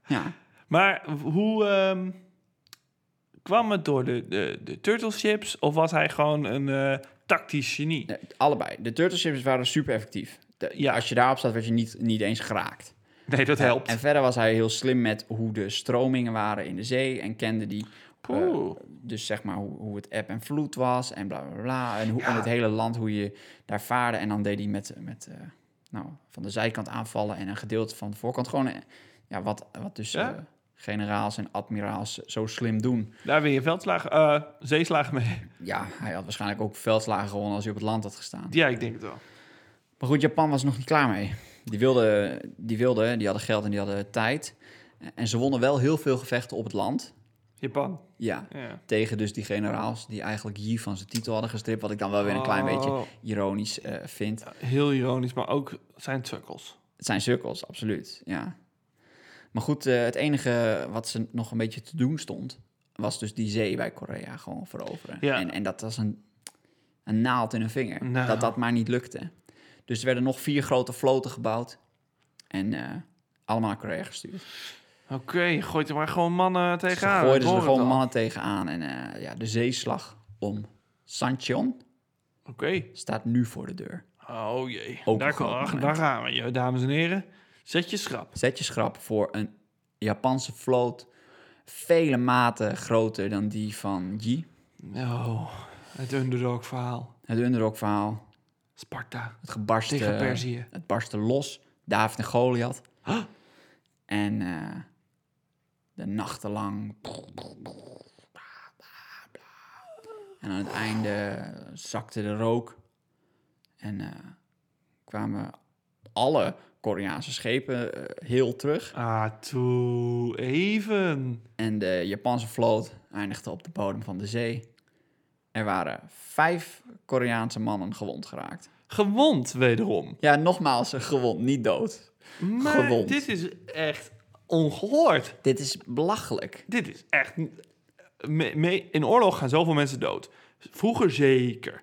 [SPEAKER 1] ja.
[SPEAKER 2] Maar hoe ehm, kwam het door de, de, de turtleships? Of was hij gewoon een eh, tactisch genie?
[SPEAKER 1] Nee, allebei. De turtle ships waren super effectief. De-
[SPEAKER 2] Ja.
[SPEAKER 1] Als je daarop staat, werd je niet, niet eens geraakt.
[SPEAKER 2] Nee, dat helpt.
[SPEAKER 1] En verder was hij heel slim met hoe de stromingen waren in de zee en kende die. eh,
[SPEAKER 2] Oeh.
[SPEAKER 1] dus zeg maar hoe, hoe het eb en vloed was en bla bla bla. En, hoe,
[SPEAKER 2] Ja.
[SPEAKER 1] en het hele land, hoe je daar vaarde. En dan deed hij met, met eh, nou, van de zijkant aanvallen en een gedeelte van de voorkant. Gewoon eh, ja, wat, wat dus
[SPEAKER 2] Ja.
[SPEAKER 1] eh, generaals en admiraals zo slim doen.
[SPEAKER 2] Daar win je veldslagen, eh, zeeslagen mee.
[SPEAKER 1] Ja, hij had waarschijnlijk ook veldslagen gewonnen als hij op het land had gestaan.
[SPEAKER 2] Ja, ik denk het wel.
[SPEAKER 1] Maar goed, Japan was er nog niet klaar mee. Die wilden, die wilden, die hadden geld en die hadden tijd. En ze wonnen wel heel veel gevechten op het land.
[SPEAKER 2] Japan.
[SPEAKER 1] Ja,
[SPEAKER 2] Ja.
[SPEAKER 1] tegen dus die generaals die eigenlijk Yi van zijn titel hadden gestript. Wat ik dan wel weer een klein beetje
[SPEAKER 2] Oh,
[SPEAKER 1] ironisch eh, vind.
[SPEAKER 2] Heel ironisch, maar ook zijn cirkels.
[SPEAKER 1] Het zijn cirkels, absoluut, ja. Maar goed, eh, het enige wat ze nog een beetje te doen stond... was dus die zee bij Korea gewoon veroveren.
[SPEAKER 2] Ja.
[SPEAKER 1] En, en dat was een, een naald in een vinger.
[SPEAKER 2] Nou.
[SPEAKER 1] Dat dat maar niet lukte. Dus er werden nog vier grote vloten gebouwd. En eh, allemaal naar Korea gestuurd.
[SPEAKER 2] Oké, gooit er maar gewoon mannen
[SPEAKER 1] Ze
[SPEAKER 2] tegenaan. Ik
[SPEAKER 1] gooiden ze
[SPEAKER 2] hoor
[SPEAKER 1] er
[SPEAKER 2] het
[SPEAKER 1] gewoon
[SPEAKER 2] al.
[SPEAKER 1] mannen tegenaan. En eh, ja, de zeeslag om Sancheon
[SPEAKER 2] Oké.
[SPEAKER 1] staat nu voor de deur.
[SPEAKER 2] Oh jee.
[SPEAKER 1] Ook
[SPEAKER 2] daar,
[SPEAKER 1] een groot
[SPEAKER 2] kan,
[SPEAKER 1] moment.
[SPEAKER 2] daar gaan we, je, dames en heren. Zet je schrap.
[SPEAKER 1] Zet je schrap voor een Japanse vloot... vele maten groter dan die van Yi...
[SPEAKER 2] Oh, het underdog verhaal.
[SPEAKER 1] Het underdog-verhaal,
[SPEAKER 2] Sparta
[SPEAKER 1] het gebarsten,
[SPEAKER 2] tegen Perzië.
[SPEAKER 1] het barsten los, David en Goliath.
[SPEAKER 2] Huh?
[SPEAKER 1] En eh, de nachtenlang. En aan het einde zakte de rook. En eh, kwamen alle Koreaanse schepen eh, heel terug.
[SPEAKER 2] Ah, toe. Even.
[SPEAKER 1] En de Japanse vloot eindigde op de bodem van de zee. Er waren vijf Koreaanse mannen gewond geraakt.
[SPEAKER 2] Gewond wederom.
[SPEAKER 1] Ja, nogmaals, gewond, niet dood.
[SPEAKER 2] Maar
[SPEAKER 1] Gewond.
[SPEAKER 2] dit is echt ongehoord.
[SPEAKER 1] Dit is belachelijk.
[SPEAKER 2] Dit is echt... Me- me- in oorlog gaan zoveel mensen dood. Vroeger zeker.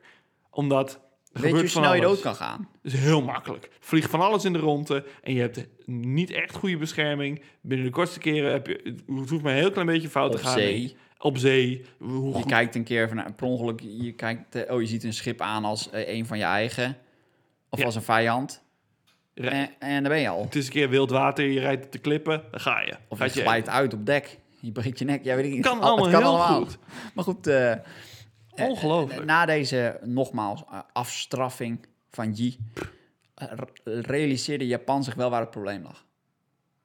[SPEAKER 2] Omdat... er
[SPEAKER 1] Weet je hoe
[SPEAKER 2] gebeurt van
[SPEAKER 1] snel je
[SPEAKER 2] alles.
[SPEAKER 1] dood
[SPEAKER 2] Oh,
[SPEAKER 1] kan gaan?
[SPEAKER 2] Dat is heel makkelijk. Vliegt van alles in de ronde en je hebt niet echt goede bescherming. Binnen de kortste keren heb je... Het hoeft maar een heel klein beetje fout
[SPEAKER 1] Op
[SPEAKER 2] te gaan.
[SPEAKER 1] zee.
[SPEAKER 2] Op zee. Hoe
[SPEAKER 1] Je
[SPEAKER 2] goed-
[SPEAKER 1] kijkt een keer van, per ongeluk, je kijkt, eh, oh, je ziet een schip aan als eh, een van je eigen. Of
[SPEAKER 2] Ja.
[SPEAKER 1] als een vijand.
[SPEAKER 2] Re-
[SPEAKER 1] En, en daar ben je al.
[SPEAKER 2] Het is een keer wild water, je rijdt op de klippen, dan ga je.
[SPEAKER 1] Of je
[SPEAKER 2] Gaat
[SPEAKER 1] glijdt uit op dek. Je breekt je nek. Ja, weet ik niet.
[SPEAKER 2] Kan
[SPEAKER 1] Al-
[SPEAKER 2] allemaal
[SPEAKER 1] het kan
[SPEAKER 2] heel
[SPEAKER 1] allemaal.
[SPEAKER 2] goed.
[SPEAKER 1] Maar goed, eh, eh,
[SPEAKER 2] Ongelooflijk.
[SPEAKER 1] na deze, nogmaals, eh, afstraffing van Yi... eh, re- realiseerde Japan zich wel waar het probleem lag.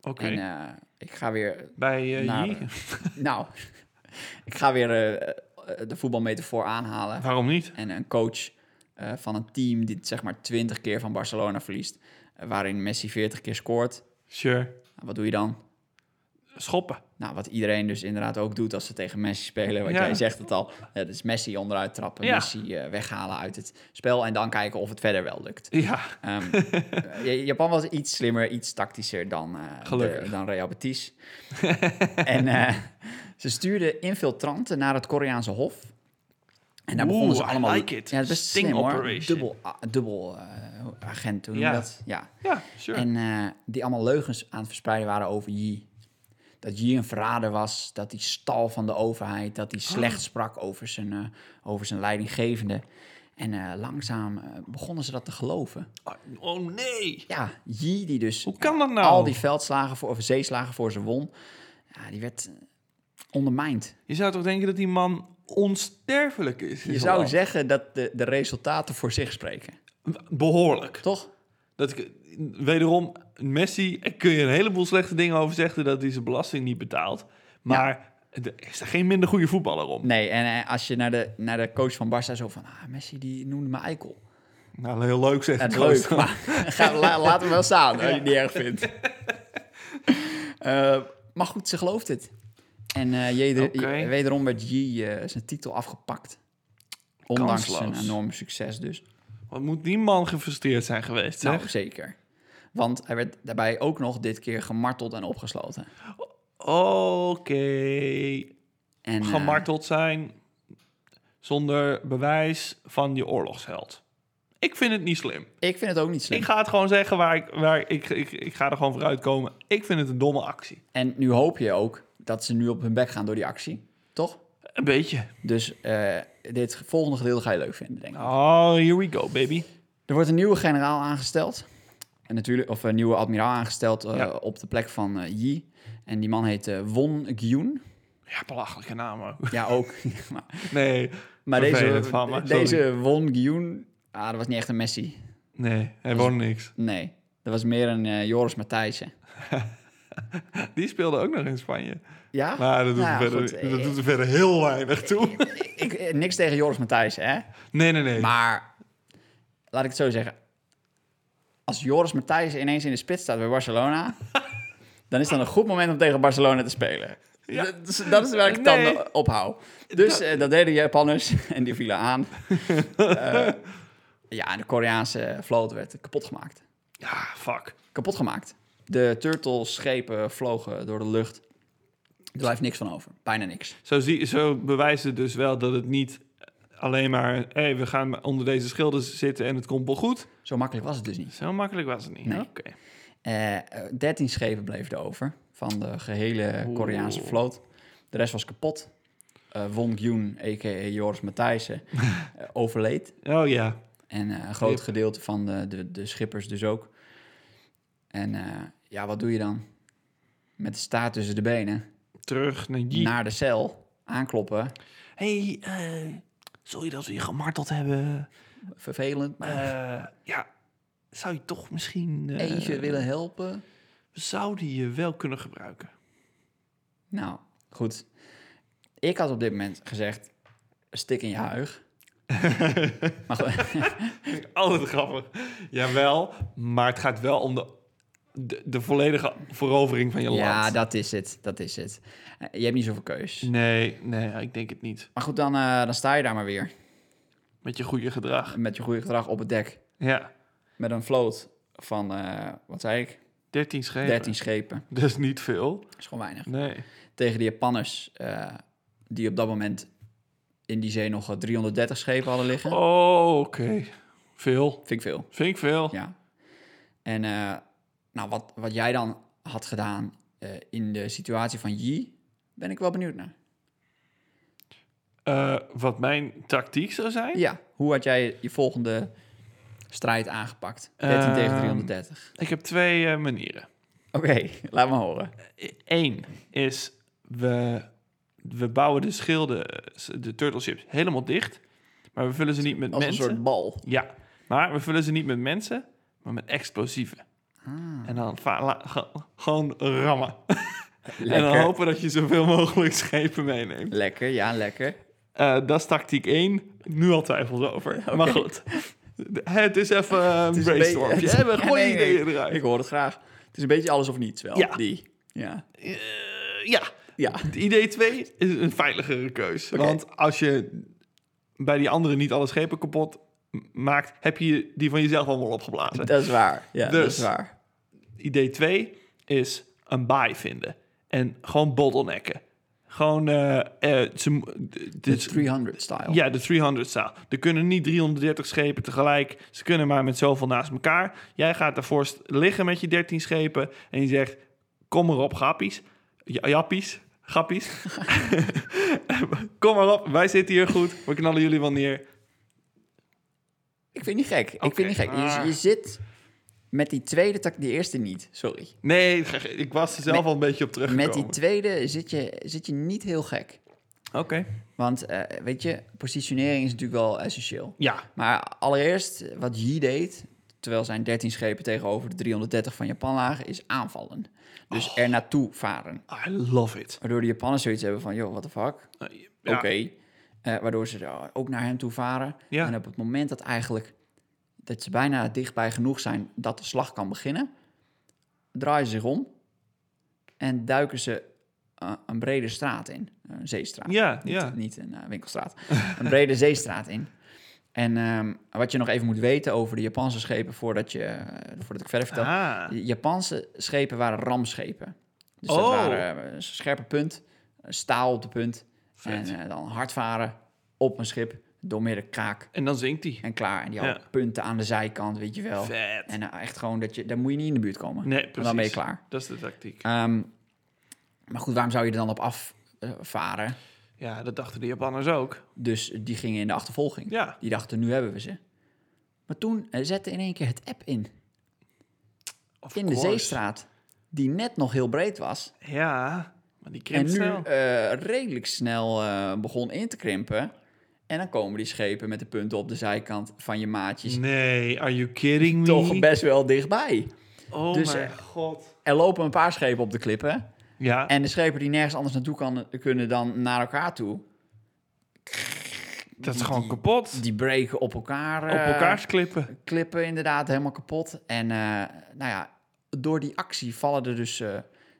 [SPEAKER 2] Oké,
[SPEAKER 1] En eh, ik ga weer
[SPEAKER 2] bij eh,
[SPEAKER 1] naar-
[SPEAKER 2] Yi?
[SPEAKER 1] Nou, ik ga weer eh, eh, de voetbalmetafoor aanhalen.
[SPEAKER 2] Waarom niet?
[SPEAKER 1] En een coach eh, van een team die zeg maar 20 keer van Barcelona verliest, eh, waarin Messi 40 keer scoort.
[SPEAKER 2] Sure.
[SPEAKER 1] Wat doe je dan?
[SPEAKER 2] schoppen.
[SPEAKER 1] Nou, wat iedereen dus inderdaad ook doet als ze tegen Messi spelen. Want
[SPEAKER 2] Ja.
[SPEAKER 1] jij zegt het al. eh, Dat is Messi onderuit trappen,
[SPEAKER 2] Ja.
[SPEAKER 1] Messi eh, weghalen uit het spel. En dan kijken of het verder wel lukt.
[SPEAKER 2] Ja,
[SPEAKER 1] Ehm, eh, Japan was iets slimmer, iets tactischer dan, eh,
[SPEAKER 2] Gelukkig.
[SPEAKER 1] de- dan Real Betis. en eh, ze stuurden infiltranten naar het Koreaanse hof. En daar
[SPEAKER 2] Oeh,
[SPEAKER 1] begonnen ze
[SPEAKER 2] I
[SPEAKER 1] allemaal...
[SPEAKER 2] like it.
[SPEAKER 1] Ja, het was
[SPEAKER 2] Sting
[SPEAKER 1] slim hoor.
[SPEAKER 2] operation.
[SPEAKER 1] Dubbel, a- dubbel eh, agent, hoe noem je
[SPEAKER 2] Ja.
[SPEAKER 1] dat? Ja.
[SPEAKER 2] ja sure.
[SPEAKER 1] En eh, die allemaal leugens aan het verspreiden waren over Yi. Dat Yi een verrader was, dat hij stal van de overheid, dat
[SPEAKER 2] Ah.
[SPEAKER 1] hij slecht sprak over zijn, eh, over zijn leidinggevende. En eh, langzaam eh, begonnen ze dat te geloven.
[SPEAKER 2] oh nee,
[SPEAKER 1] Ja, Yi die dus
[SPEAKER 2] hoe kan dat nou?
[SPEAKER 1] al die veldslagen voor, of zeeslagen voor ze won, ja, die werd eh, ondermijnd.
[SPEAKER 2] Je zou toch denken dat die man onsterfelijk is?
[SPEAKER 1] Je zou zeggen dat de, de resultaten voor zich spreken,
[SPEAKER 2] Behoorlijk.
[SPEAKER 1] toch?
[SPEAKER 2] Dat ik, wederom, Messi, er kun je een heleboel slechte dingen over zeggen dat hij zijn belasting niet betaalt. Maar er is er geen minder goede voetballer om.
[SPEAKER 1] Nee, en eh, als je naar de, naar de coach van Barça zo van, ah, Messi die noemde me eikel.
[SPEAKER 2] Nou, heel leuk zegt
[SPEAKER 1] Ja,
[SPEAKER 2] de
[SPEAKER 1] het
[SPEAKER 2] coach
[SPEAKER 1] is leuk,
[SPEAKER 2] dan.
[SPEAKER 1] maar ga, la- laat hem wel staan als je het niet erg vindt. Eh, maar goed, ze gelooft het. En eh, jeder-
[SPEAKER 2] Oké.
[SPEAKER 1] je- wederom werd G eh, zijn titel afgepakt. Ondanks zijn
[SPEAKER 2] Kansloos.
[SPEAKER 1] enorm succes dus.
[SPEAKER 2] Wat moet die man gefrustreerd zijn geweest, zeg?
[SPEAKER 1] Nou, zeker. Want hij werd daarbij ook nog dit keer gemarteld en opgesloten.
[SPEAKER 2] Oké.
[SPEAKER 1] En, eh,
[SPEAKER 2] Gemarteld zijn zonder bewijs van je oorlogsheld. Ik vind het niet slim.
[SPEAKER 1] ik vind het ook niet slim.
[SPEAKER 2] Ik ga het gewoon zeggen waar ik... Waar ik, ik, ik ga er gewoon vooruit komen. Ik vind het een domme actie.
[SPEAKER 1] En nu hoop je ook dat ze nu op hun bek gaan door die actie. Toch?
[SPEAKER 2] Een beetje.
[SPEAKER 1] Dus eh, dit volgende gedeelte ga je leuk vinden, denk ik.
[SPEAKER 2] Oh, here we go, baby.
[SPEAKER 1] Er wordt een nieuwe generaal aangesteld. En natuurlijk, of een nieuwe admiraal aangesteld eh,
[SPEAKER 2] Ja.
[SPEAKER 1] op de plek van eh, Yi. En die man heet eh, Won Gyun.
[SPEAKER 2] Ja, belachelijke naam ook.
[SPEAKER 1] Ja, ook. maar
[SPEAKER 2] Nee,
[SPEAKER 1] maar deze,
[SPEAKER 2] Vervelend van me, sorry.
[SPEAKER 1] deze Won Gyun, ah, dat was niet echt een Messi.
[SPEAKER 2] nee, hij won niks.
[SPEAKER 1] Nee, dat was meer een eh, Joris Matthijssen.
[SPEAKER 2] Die speelde ook nog in Spanje.
[SPEAKER 1] Ja?
[SPEAKER 2] Maar dat doet,
[SPEAKER 1] Nou ja,
[SPEAKER 2] er, verder,
[SPEAKER 1] goed,
[SPEAKER 2] dat
[SPEAKER 1] eh,
[SPEAKER 2] doet er verder heel weinig toe.
[SPEAKER 1] ik, eh, niks tegen Joris Matthijssen, hè?
[SPEAKER 2] Nee, nee, nee.
[SPEAKER 1] Maar, laat ik het zo zeggen. Als Joris Matthijssen ineens in de spits staat bij Barcelona... dan is dat een goed moment om tegen Barcelona te spelen.
[SPEAKER 2] Ja.
[SPEAKER 1] Dat, is- dat is waar ik het dan
[SPEAKER 2] Nee.
[SPEAKER 1] op hou. Dus dat, dat deden Japanners en die vielen aan. Eh, ja, en de Koreaanse vloot werd kapot gemaakt.
[SPEAKER 2] Ja, fuck.
[SPEAKER 1] Kapot gemaakt. De turtleschepen vlogen door de lucht. Er blijft niks van over. Bijna niks.
[SPEAKER 2] Zo, zie, zo bewijst het dus wel dat het niet alleen maar... Hé, we gaan maar onder deze schilders zitten en het komt wel goed.
[SPEAKER 1] Zo makkelijk was het dus niet.
[SPEAKER 2] Zo makkelijk was het niet.
[SPEAKER 1] Nee.
[SPEAKER 2] Oké.
[SPEAKER 1] Eh, eh, 13 schepen bleven er over van de gehele Koreaanse
[SPEAKER 2] Oeh.
[SPEAKER 1] vloot. De rest was kapot. Eh Won Gyun, a.k.a. Joris Matthijssen, eh, overleed.
[SPEAKER 2] Oh ja.
[SPEAKER 1] En eh, een groot
[SPEAKER 2] Rip.
[SPEAKER 1] gedeelte van de, de, de schippers dus ook. En eh, ja, wat doe je dan? Met de staart tussen de benen,
[SPEAKER 2] Terug naar Yi.
[SPEAKER 1] naar de cel, aankloppen.
[SPEAKER 2] hey, eh, sorry dat we je gemarteld hebben.
[SPEAKER 1] Vervelend, maar
[SPEAKER 2] Eh, ja, zou je toch misschien... eh,
[SPEAKER 1] even willen helpen.
[SPEAKER 2] We zouden je wel kunnen gebruiken.
[SPEAKER 1] Nou, goed. Ik had op dit moment gezegd, stik in je huig. maar goed.
[SPEAKER 2] Altijd Oh, grappig. Jawel, maar het gaat wel om de, de, de volledige verovering van je
[SPEAKER 1] Ja,
[SPEAKER 2] land.
[SPEAKER 1] dat is het. Dat is het. Eh, Je hebt niet zoveel keus.
[SPEAKER 2] Nee, nee, ik denk het niet.
[SPEAKER 1] Maar goed, dan, eh, dan sta je daar maar weer.
[SPEAKER 2] Met je goede gedrag.
[SPEAKER 1] Met je goede gedrag op het dek.
[SPEAKER 2] Ja,
[SPEAKER 1] Met een vloot van, eh, wat zei ik?
[SPEAKER 2] 13 schepen.
[SPEAKER 1] 13 schepen.
[SPEAKER 2] Dat is niet veel.
[SPEAKER 1] Dat is gewoon weinig.
[SPEAKER 2] Nee.
[SPEAKER 1] Tegen die Japanners, eh, die op dat moment in die zee nog eh, 330 schepen hadden liggen.
[SPEAKER 2] Oh, oké. Veel.
[SPEAKER 1] Vind ik veel.
[SPEAKER 2] Vind ik veel.
[SPEAKER 1] Ja. En eh, nou, wat, wat jij dan had gedaan eh, in de situatie van Yi, ben ik wel benieuwd naar.
[SPEAKER 2] Eh, wat mijn tactiek zou zijn?
[SPEAKER 1] Ja, hoe had jij je volgende strijd aangepakt? 13 tegen
[SPEAKER 2] Ehm,
[SPEAKER 1] 330.
[SPEAKER 2] Ik heb twee eh, manieren.
[SPEAKER 1] Oké, laat maar horen.
[SPEAKER 2] Eén is, we, we bouwen de schilden, eh, de turtleships, helemaal dicht. Maar we vullen ze niet met
[SPEAKER 1] Als een
[SPEAKER 2] mensen.
[SPEAKER 1] soort bal.
[SPEAKER 2] Ja, maar we vullen ze niet met mensen, maar met explosieven.
[SPEAKER 1] Ah.
[SPEAKER 2] En dan va- la- ge- gewoon rammen. En dan hopen dat je zoveel mogelijk schepen meeneemt.
[SPEAKER 1] Lekker, ja, lekker.
[SPEAKER 2] Eh, dat is tactiek 1. Nu al twijfels over. Maar goed. Het is even eh, een
[SPEAKER 1] is een
[SPEAKER 2] brainstorm.
[SPEAKER 1] beetje-
[SPEAKER 2] Je hebt een
[SPEAKER 1] Ja,
[SPEAKER 2] goede
[SPEAKER 1] nee, nee.
[SPEAKER 2] ideeën eruit.
[SPEAKER 1] Ik hoor het graag. Het is een beetje alles of niets wel.
[SPEAKER 2] Ja.
[SPEAKER 1] Die. Ja.
[SPEAKER 2] Eh, ja,
[SPEAKER 1] Ja.
[SPEAKER 2] idee 2 is een veiligere keus.
[SPEAKER 1] Oké.
[SPEAKER 2] Want als je bij die andere niet alle schepen kapot m- maakt, heb je die van jezelf allemaal opgeblazen.
[SPEAKER 1] Dat is waar. Ja, dat
[SPEAKER 2] Dus.
[SPEAKER 1] is waar.
[SPEAKER 2] Idee 2 is een baai vinden. En gewoon bottlenecken. Gewoon, eh, eh, ze mo- d-
[SPEAKER 1] De
[SPEAKER 2] dus-
[SPEAKER 1] 300 style.
[SPEAKER 2] ja, de 300 staal. Er kunnen niet 330 schepen tegelijk. Ze kunnen maar met zoveel naast elkaar. Jij gaat daarvoor st- liggen met je 13 schepen. En je zegt, kom maar op, grappies. Ja, jappies. Grappies. kom maar op, wij zitten hier goed. We knallen jullie wel neer.
[SPEAKER 1] Ik vind het niet gek. Ik
[SPEAKER 2] Oké.
[SPEAKER 1] vind het niet gek. Je, je zit met die tweede, tak- die eerste niet, sorry.
[SPEAKER 2] Nee, ik was er zelf al een beetje op teruggekomen.
[SPEAKER 1] Met die tweede zit je, zit je niet heel gek.
[SPEAKER 2] Oké.
[SPEAKER 1] Want eh, weet je, positionering is natuurlijk wel essentieel.
[SPEAKER 2] Ja.
[SPEAKER 1] Maar allereerst, wat Yi deed, terwijl zijn 13 schepen tegenover de 330 van Japan lagen, is aanvallen. Dus
[SPEAKER 2] Oh.
[SPEAKER 1] er naartoe varen.
[SPEAKER 2] I love it.
[SPEAKER 1] Waardoor de Japanners zoiets hebben van, joh, what the fuck?
[SPEAKER 2] Ja.
[SPEAKER 1] Oké. Eh, waardoor ze er ook naar hem toe varen.
[SPEAKER 2] Ja.
[SPEAKER 1] En op het moment dat eigenlijk dat ze bijna dichtbij genoeg zijn dat de slag kan beginnen, draaien ze zich om en duiken ze eh, een brede straat in. Een zeestraat.
[SPEAKER 2] Ja,
[SPEAKER 1] Niet,
[SPEAKER 2] ja.
[SPEAKER 1] niet een eh, winkelstraat. een brede zeestraat in. En ehm, wat je nog even moet weten over de Japanse schepen voordat, je, eh, voordat ik verder vertel.
[SPEAKER 2] Ah.
[SPEAKER 1] De Japanse schepen waren ramschepen. Dus dat
[SPEAKER 2] Oh.
[SPEAKER 1] waren eh, een scherpe punt, een staal op de punt.
[SPEAKER 2] Vet.
[SPEAKER 1] En eh, dan hard varen op een schip, door midden kaak
[SPEAKER 2] En dan zinkt hij.
[SPEAKER 1] en klaar. En die
[SPEAKER 2] Ja.
[SPEAKER 1] hadden punten aan de zijkant, weet je wel.
[SPEAKER 2] Vet.
[SPEAKER 1] En eh, echt gewoon, dat je, daar moet je niet in de buurt komen.
[SPEAKER 2] Nee,
[SPEAKER 1] Want dan ben je
[SPEAKER 2] precies.
[SPEAKER 1] klaar.
[SPEAKER 2] Dat is de tactiek.
[SPEAKER 1] Ehm, maar goed, waarom zou je er dan op afvaren?
[SPEAKER 2] Ja, dat dachten de Japanners ook.
[SPEAKER 1] Dus die gingen in de achtervolging.
[SPEAKER 2] Ja.
[SPEAKER 1] Die dachten, nu hebben we ze. Maar toen eh, zette in één keer het app in.
[SPEAKER 2] Of
[SPEAKER 1] in de
[SPEAKER 2] course.
[SPEAKER 1] zeestraat, die net nog heel breed was.
[SPEAKER 2] Ja, maar die
[SPEAKER 1] En
[SPEAKER 2] krimpt
[SPEAKER 1] nu
[SPEAKER 2] snel.
[SPEAKER 1] eh, redelijk snel eh, begon in te krimpen. En dan komen die schepen met de punten op de zijkant van je maatjes
[SPEAKER 2] Nee, are you kidding me?
[SPEAKER 1] toch best wel dichtbij.
[SPEAKER 2] Oh
[SPEAKER 1] dus,
[SPEAKER 2] mijn
[SPEAKER 1] eh,
[SPEAKER 2] god.
[SPEAKER 1] Er lopen een paar schepen op de klippen.
[SPEAKER 2] Ja,
[SPEAKER 1] En de schepen die nergens anders naartoe kan, kunnen dan naar elkaar toe,
[SPEAKER 2] dat is gewoon kapot.
[SPEAKER 1] die breken op elkaar.
[SPEAKER 2] Op
[SPEAKER 1] eh,
[SPEAKER 2] elkaars klippen.
[SPEAKER 1] klippen inderdaad helemaal kapot. En eh, nou ja, door die actie vallen er dus eh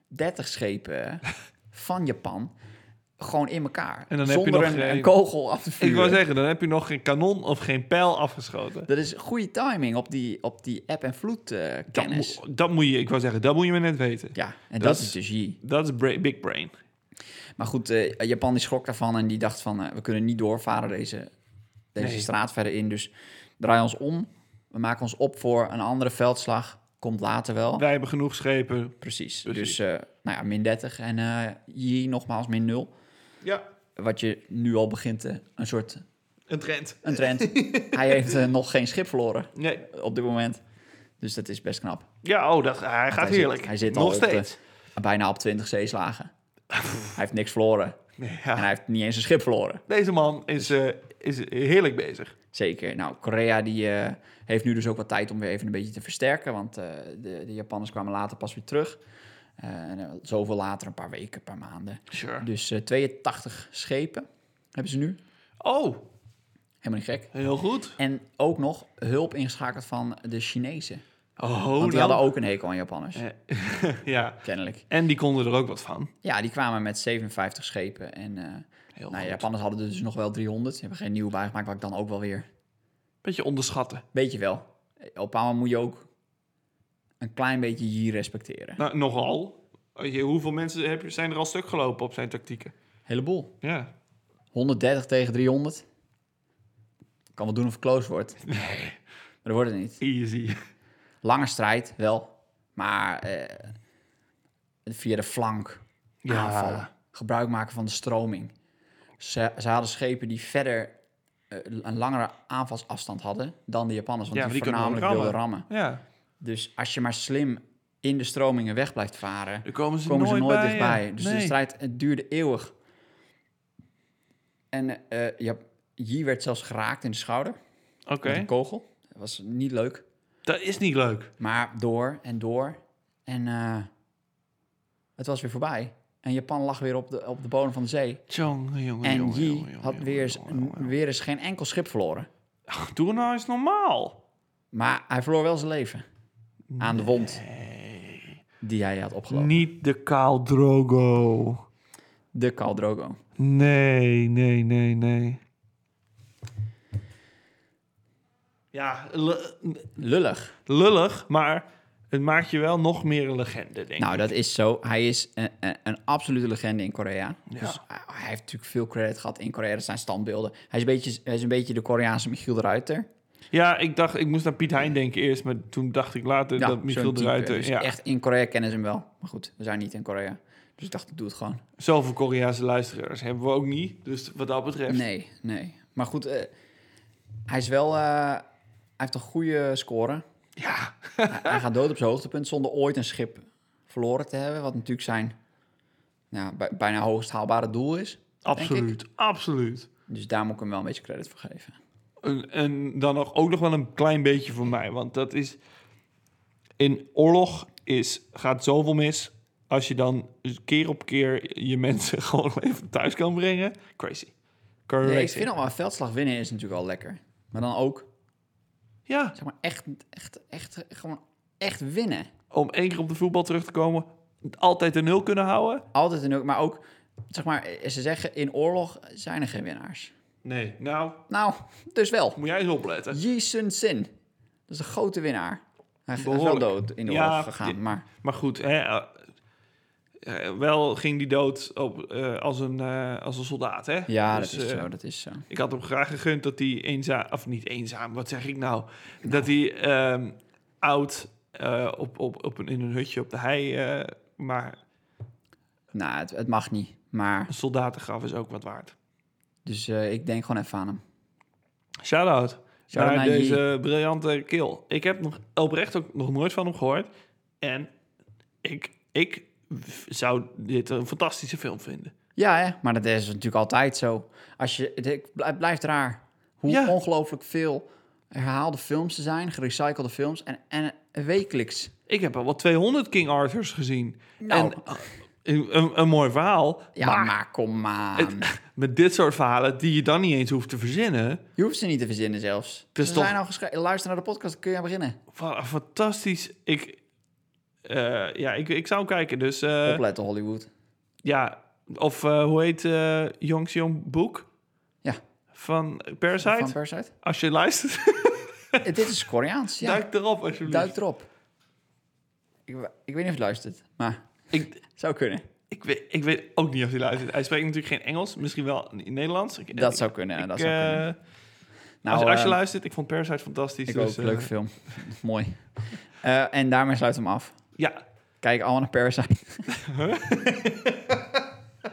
[SPEAKER 1] 30 schepen van Japan gewoon in elkaar.
[SPEAKER 2] En dan heb je
[SPEAKER 1] zonder
[SPEAKER 2] nog
[SPEAKER 1] een,
[SPEAKER 2] geen-
[SPEAKER 1] een kogel af te
[SPEAKER 2] Ik
[SPEAKER 1] vuren.
[SPEAKER 2] wou zeggen, dan heb je nog geen kanon of geen pijl afgeschoten.
[SPEAKER 1] Dat is goede timing op die, op die app- en
[SPEAKER 2] Dat,
[SPEAKER 1] vloedkennis.
[SPEAKER 2] mo- dat moet je, ik wou zeggen, dat moet je maar net weten.
[SPEAKER 1] ja, en dat,
[SPEAKER 2] dat
[SPEAKER 1] is
[SPEAKER 2] is-
[SPEAKER 1] dus hier.
[SPEAKER 2] Dat is bra- big brain.
[SPEAKER 1] Maar goed, eh, Japan die schrok daarvan en die dacht van... eh, we kunnen niet doorvaren deze, deze
[SPEAKER 2] Nee.
[SPEAKER 1] straat verder in. Dus draai ons om. We maken ons op voor een andere veldslag. Komt later wel.
[SPEAKER 2] Wij hebben genoeg schepen.
[SPEAKER 1] Precies.
[SPEAKER 2] Precies.
[SPEAKER 1] Dus eh, nou ja, min 30 en eh hier nogmaals min 0.
[SPEAKER 2] Ja,
[SPEAKER 1] Wat je nu al begint, eh, een soort
[SPEAKER 2] een trend.
[SPEAKER 1] een trend. Hij heeft eh, nog geen schip verloren
[SPEAKER 2] Nee.
[SPEAKER 1] op dit moment. Dus dat is best knap.
[SPEAKER 2] Ja, oh, dat, hij gaat
[SPEAKER 1] Hij zit-
[SPEAKER 2] heerlijk.
[SPEAKER 1] hij zit al
[SPEAKER 2] nog
[SPEAKER 1] op de-
[SPEAKER 2] steeds.
[SPEAKER 1] Bijna op 20 zeeslagen. hij heeft niks verloren.
[SPEAKER 2] Ah.
[SPEAKER 1] En hij
[SPEAKER 2] Ja.
[SPEAKER 1] heeft niet eens een schip verloren.
[SPEAKER 2] Deze man is, eh, is heerlijk bezig.
[SPEAKER 1] Zeker. Nou, Korea die, eh, heeft nu dus ook wat tijd om weer even een beetje te versterken. Want eh, de, de Japanners kwamen later pas weer terug. Eh, en, eh, zoveel later, een paar weken, een paar maanden.
[SPEAKER 2] Sure.
[SPEAKER 1] Dus eh, 82 schepen hebben ze nu.
[SPEAKER 2] Oh,
[SPEAKER 1] Helemaal niet gek.
[SPEAKER 2] heel goed.
[SPEAKER 1] En ook nog hulp ingeschakeld van de Chinezen.
[SPEAKER 2] Oh,
[SPEAKER 1] Want die
[SPEAKER 2] dan-
[SPEAKER 1] hadden ook een hekel aan Japanners,
[SPEAKER 2] Ja,
[SPEAKER 1] kennelijk.
[SPEAKER 2] en die konden er ook wat van.
[SPEAKER 1] Ja, die kwamen met 57 schepen. En eh
[SPEAKER 2] Heel
[SPEAKER 1] nou,
[SPEAKER 2] Oh, goed.
[SPEAKER 1] Japanners hadden er dus nog wel 300. Ze hebben geen nieuwe bijgemaakt, wat ik dan ook wel weer...
[SPEAKER 2] Beetje onderschatten.
[SPEAKER 1] Weet je wel, Eh, op een bepaald moment moet je ook een klein beetje hier respecteren.
[SPEAKER 2] Nou, nogal. Weet je, hoeveel mensen heb je, zijn er al stuk gelopen op zijn tactieken?
[SPEAKER 1] Heleboel.
[SPEAKER 2] Ja.
[SPEAKER 1] 130 tegen 300. Kan wel doen of het close wordt. Nee. Maar dat wordt het niet.
[SPEAKER 2] Easy.
[SPEAKER 1] Lange strijd, wel. Maar eh, via de flank
[SPEAKER 2] Ja.
[SPEAKER 1] aanvallen. Gebruik maken van de stroming. Ze, ze hadden schepen die verder eh, een langere aanvalsafstand hadden dan de Japanners. Want
[SPEAKER 2] Ja,
[SPEAKER 1] die,
[SPEAKER 2] die kunnen
[SPEAKER 1] voornamelijk
[SPEAKER 2] wel
[SPEAKER 1] wilden rammen.
[SPEAKER 2] Ja.
[SPEAKER 1] Dus als je maar slim in de stromingen weg blijft varen,
[SPEAKER 2] Daar komen ze,
[SPEAKER 1] komen
[SPEAKER 2] nooit,
[SPEAKER 1] ze nooit
[SPEAKER 2] bij,
[SPEAKER 1] dichtbij.
[SPEAKER 2] ja.
[SPEAKER 1] Dus de
[SPEAKER 2] Nee.
[SPEAKER 1] strijd het duurde eeuwig. En eh ja, Yi werd zelfs geraakt in de schouder
[SPEAKER 2] Oké,
[SPEAKER 1] met een kogel. Dat was niet leuk.
[SPEAKER 2] dat is niet leuk.
[SPEAKER 1] Maar door en door. En eh, het was weer voorbij. En Japan lag weer op de, op de bodem van de zee.
[SPEAKER 2] Tjonge, jonge,
[SPEAKER 1] En
[SPEAKER 2] jonge,
[SPEAKER 1] Yi
[SPEAKER 2] jonge, jonge,
[SPEAKER 1] had
[SPEAKER 2] jonge,
[SPEAKER 1] weer, eens,
[SPEAKER 2] jonge, jonge, jonge.
[SPEAKER 1] weer eens geen enkel schip verloren.
[SPEAKER 2] Ach, Doe nou eens normaal.
[SPEAKER 1] Maar hij verloor wel zijn leven aan de wond.
[SPEAKER 2] Nee.
[SPEAKER 1] die hij had opgelopen.
[SPEAKER 2] Niet de Kaal Drogo.
[SPEAKER 1] De Khal Drogo.
[SPEAKER 2] Nee, nee, nee, nee. Ja, l-
[SPEAKER 1] Lullig.
[SPEAKER 2] lullig, maar het maakt je wel nog meer een legende, denk ik.
[SPEAKER 1] Nou, dat is zo. Hij is een, een, een absolute legende in Korea. Dus hij, hij heeft natuurlijk veel credit gehad in Korea. Er zijn standbeelden. Hij is een beetje, hij is een beetje de Koreaanse Michiel de Ruiter.
[SPEAKER 2] Ja, ik dacht, ik moest naar Piet Hein denken eerst, maar toen dacht ik later dat Michiel
[SPEAKER 1] zo'n
[SPEAKER 2] de
[SPEAKER 1] type.
[SPEAKER 2] Ruiter...
[SPEAKER 1] Dus
[SPEAKER 2] Ja,
[SPEAKER 1] Echt in Korea kennen ze hem wel. Maar goed, we zijn niet in Korea. Dus ik dacht, ik doe het gewoon.
[SPEAKER 2] zoveel Koreaanse luisteraars hebben we ook niet. Dus wat dat betreft...
[SPEAKER 1] Nee, nee. Maar goed, eh, hij is wel... eh, hij heeft een goede score.
[SPEAKER 2] Ja,
[SPEAKER 1] hij, hij gaat dood op zijn hoogtepunt zonder ooit een schip verloren te hebben. Wat natuurlijk zijn nou, bij- bijna hoogst haalbare doel is.
[SPEAKER 2] absoluut, absoluut.
[SPEAKER 1] Dus daar moet ik hem wel een beetje credit voor geven.
[SPEAKER 2] En, en dan nog, ook nog wel een klein beetje voor mij, want dat is... In oorlog is, gaat zoveel mis als je dan keer op keer je mensen gewoon even thuis kan brengen. Crazy. Crazy.
[SPEAKER 1] Nee, ik vind al, maar een veldslag winnen is natuurlijk al lekker. Maar dan ook,
[SPEAKER 2] Ja,
[SPEAKER 1] zeg maar, echt, echt, echt, gewoon echt winnen.
[SPEAKER 2] om één keer op de voetbal terug te komen, altijd de nul kunnen houden.
[SPEAKER 1] Altijd en ook, maar ook, zeg maar, eh, ze zeggen in oorlog zijn er geen winnaars.
[SPEAKER 2] Nee. Nou,
[SPEAKER 1] Nou, dus wel.
[SPEAKER 2] moet jij eens opletten.
[SPEAKER 1] Yi Sun Sin, dat is een grote winnaar. Hij is hij is wel
[SPEAKER 2] Behoorlijk.
[SPEAKER 1] dood in de
[SPEAKER 2] Ja,
[SPEAKER 1] oorlog gegaan,
[SPEAKER 2] dit-
[SPEAKER 1] maar
[SPEAKER 2] Maar goed, hè, eh, eh, wel ging die dood op, eh, als, een, eh, als een soldaat, hè?
[SPEAKER 1] ja,
[SPEAKER 2] Dus,
[SPEAKER 1] dat is
[SPEAKER 2] eh,
[SPEAKER 1] zo, dat is zo.
[SPEAKER 2] Ik had hem graag gegund dat hij eenzaam... Of niet eenzaam, wat zeg ik nou? Dat hij ehm, oud eh, op, op, op een, in een hutje op de hei... eh, maar
[SPEAKER 1] Nou, het, het mag niet, maar,
[SPEAKER 2] een soldatengraf is ook wat waard.
[SPEAKER 1] dus eh, ik denk gewoon even aan hem.
[SPEAKER 2] Shout-out
[SPEAKER 1] Shout-out
[SPEAKER 2] naar
[SPEAKER 1] naar Yi.
[SPEAKER 2] deze briljante kill. Ik heb nog, oprecht ook nog nooit van hem gehoord. En ik, ik zou dit een fantastische film vinden.
[SPEAKER 1] Ja, hè? maar dat is natuurlijk altijd zo. Als je, het- het bl- het blijft raar hoe
[SPEAKER 2] Ja.
[SPEAKER 1] ongelooflijk veel herhaalde films er zijn, gerecyclede films en, en wekelijks.
[SPEAKER 2] Ik heb al wel 200 King Arthurs gezien.
[SPEAKER 1] Nou.
[SPEAKER 2] En, ah, een, een, een mooi verhaal.
[SPEAKER 1] Ja,
[SPEAKER 2] maar
[SPEAKER 1] maar, kom aan.
[SPEAKER 2] met dit soort verhalen die je dan niet eens hoeft te verzinnen.
[SPEAKER 1] Je hoeft ze niet te verzinnen zelfs.
[SPEAKER 2] is
[SPEAKER 1] ze
[SPEAKER 2] toch-
[SPEAKER 1] zijn al geschreven. Luister naar de podcast, dan kun je aan beginnen.
[SPEAKER 2] Fa- Fantastisch. Ik, eh, ja, ik, ik zou hem kijken. Dus eh,
[SPEAKER 1] Opletten Hollywood.
[SPEAKER 2] ja, of eh, hoe heet eh Jong Seong Boek
[SPEAKER 1] Ja.
[SPEAKER 2] van Parasite?
[SPEAKER 1] Van Parasite.
[SPEAKER 2] Als je luistert,
[SPEAKER 1] Eh, Dit is Koreaans, ja. Duik,
[SPEAKER 2] duik erop alsjeblieft.
[SPEAKER 1] erop. Ik, we- ik weet niet of je luistert, maar
[SPEAKER 2] Ik,
[SPEAKER 1] zou kunnen.
[SPEAKER 2] ik, weet, ik weet ook niet of hij luistert. Hij spreekt natuurlijk geen Engels, misschien wel in Nederlands. Ik-
[SPEAKER 1] Dat
[SPEAKER 2] ik-
[SPEAKER 1] zou kunnen,
[SPEAKER 2] ik,
[SPEAKER 1] dat zou
[SPEAKER 2] eh,
[SPEAKER 1] kunnen.
[SPEAKER 2] als, je- als je
[SPEAKER 1] eh,
[SPEAKER 2] luistert, ik vond Parasite fantastisch.
[SPEAKER 1] Ik ook,
[SPEAKER 2] dus, eh,
[SPEAKER 1] leuke film. Mooi. Eh, en daarmee sluit hem af.
[SPEAKER 2] Ja,
[SPEAKER 1] Kijk allemaal naar Parasite.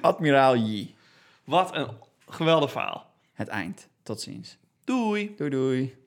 [SPEAKER 1] Admiraal Yi.
[SPEAKER 2] wat een geweldig verhaal.
[SPEAKER 1] Het eind. Tot ziens.
[SPEAKER 2] Doei!
[SPEAKER 1] Doei doei.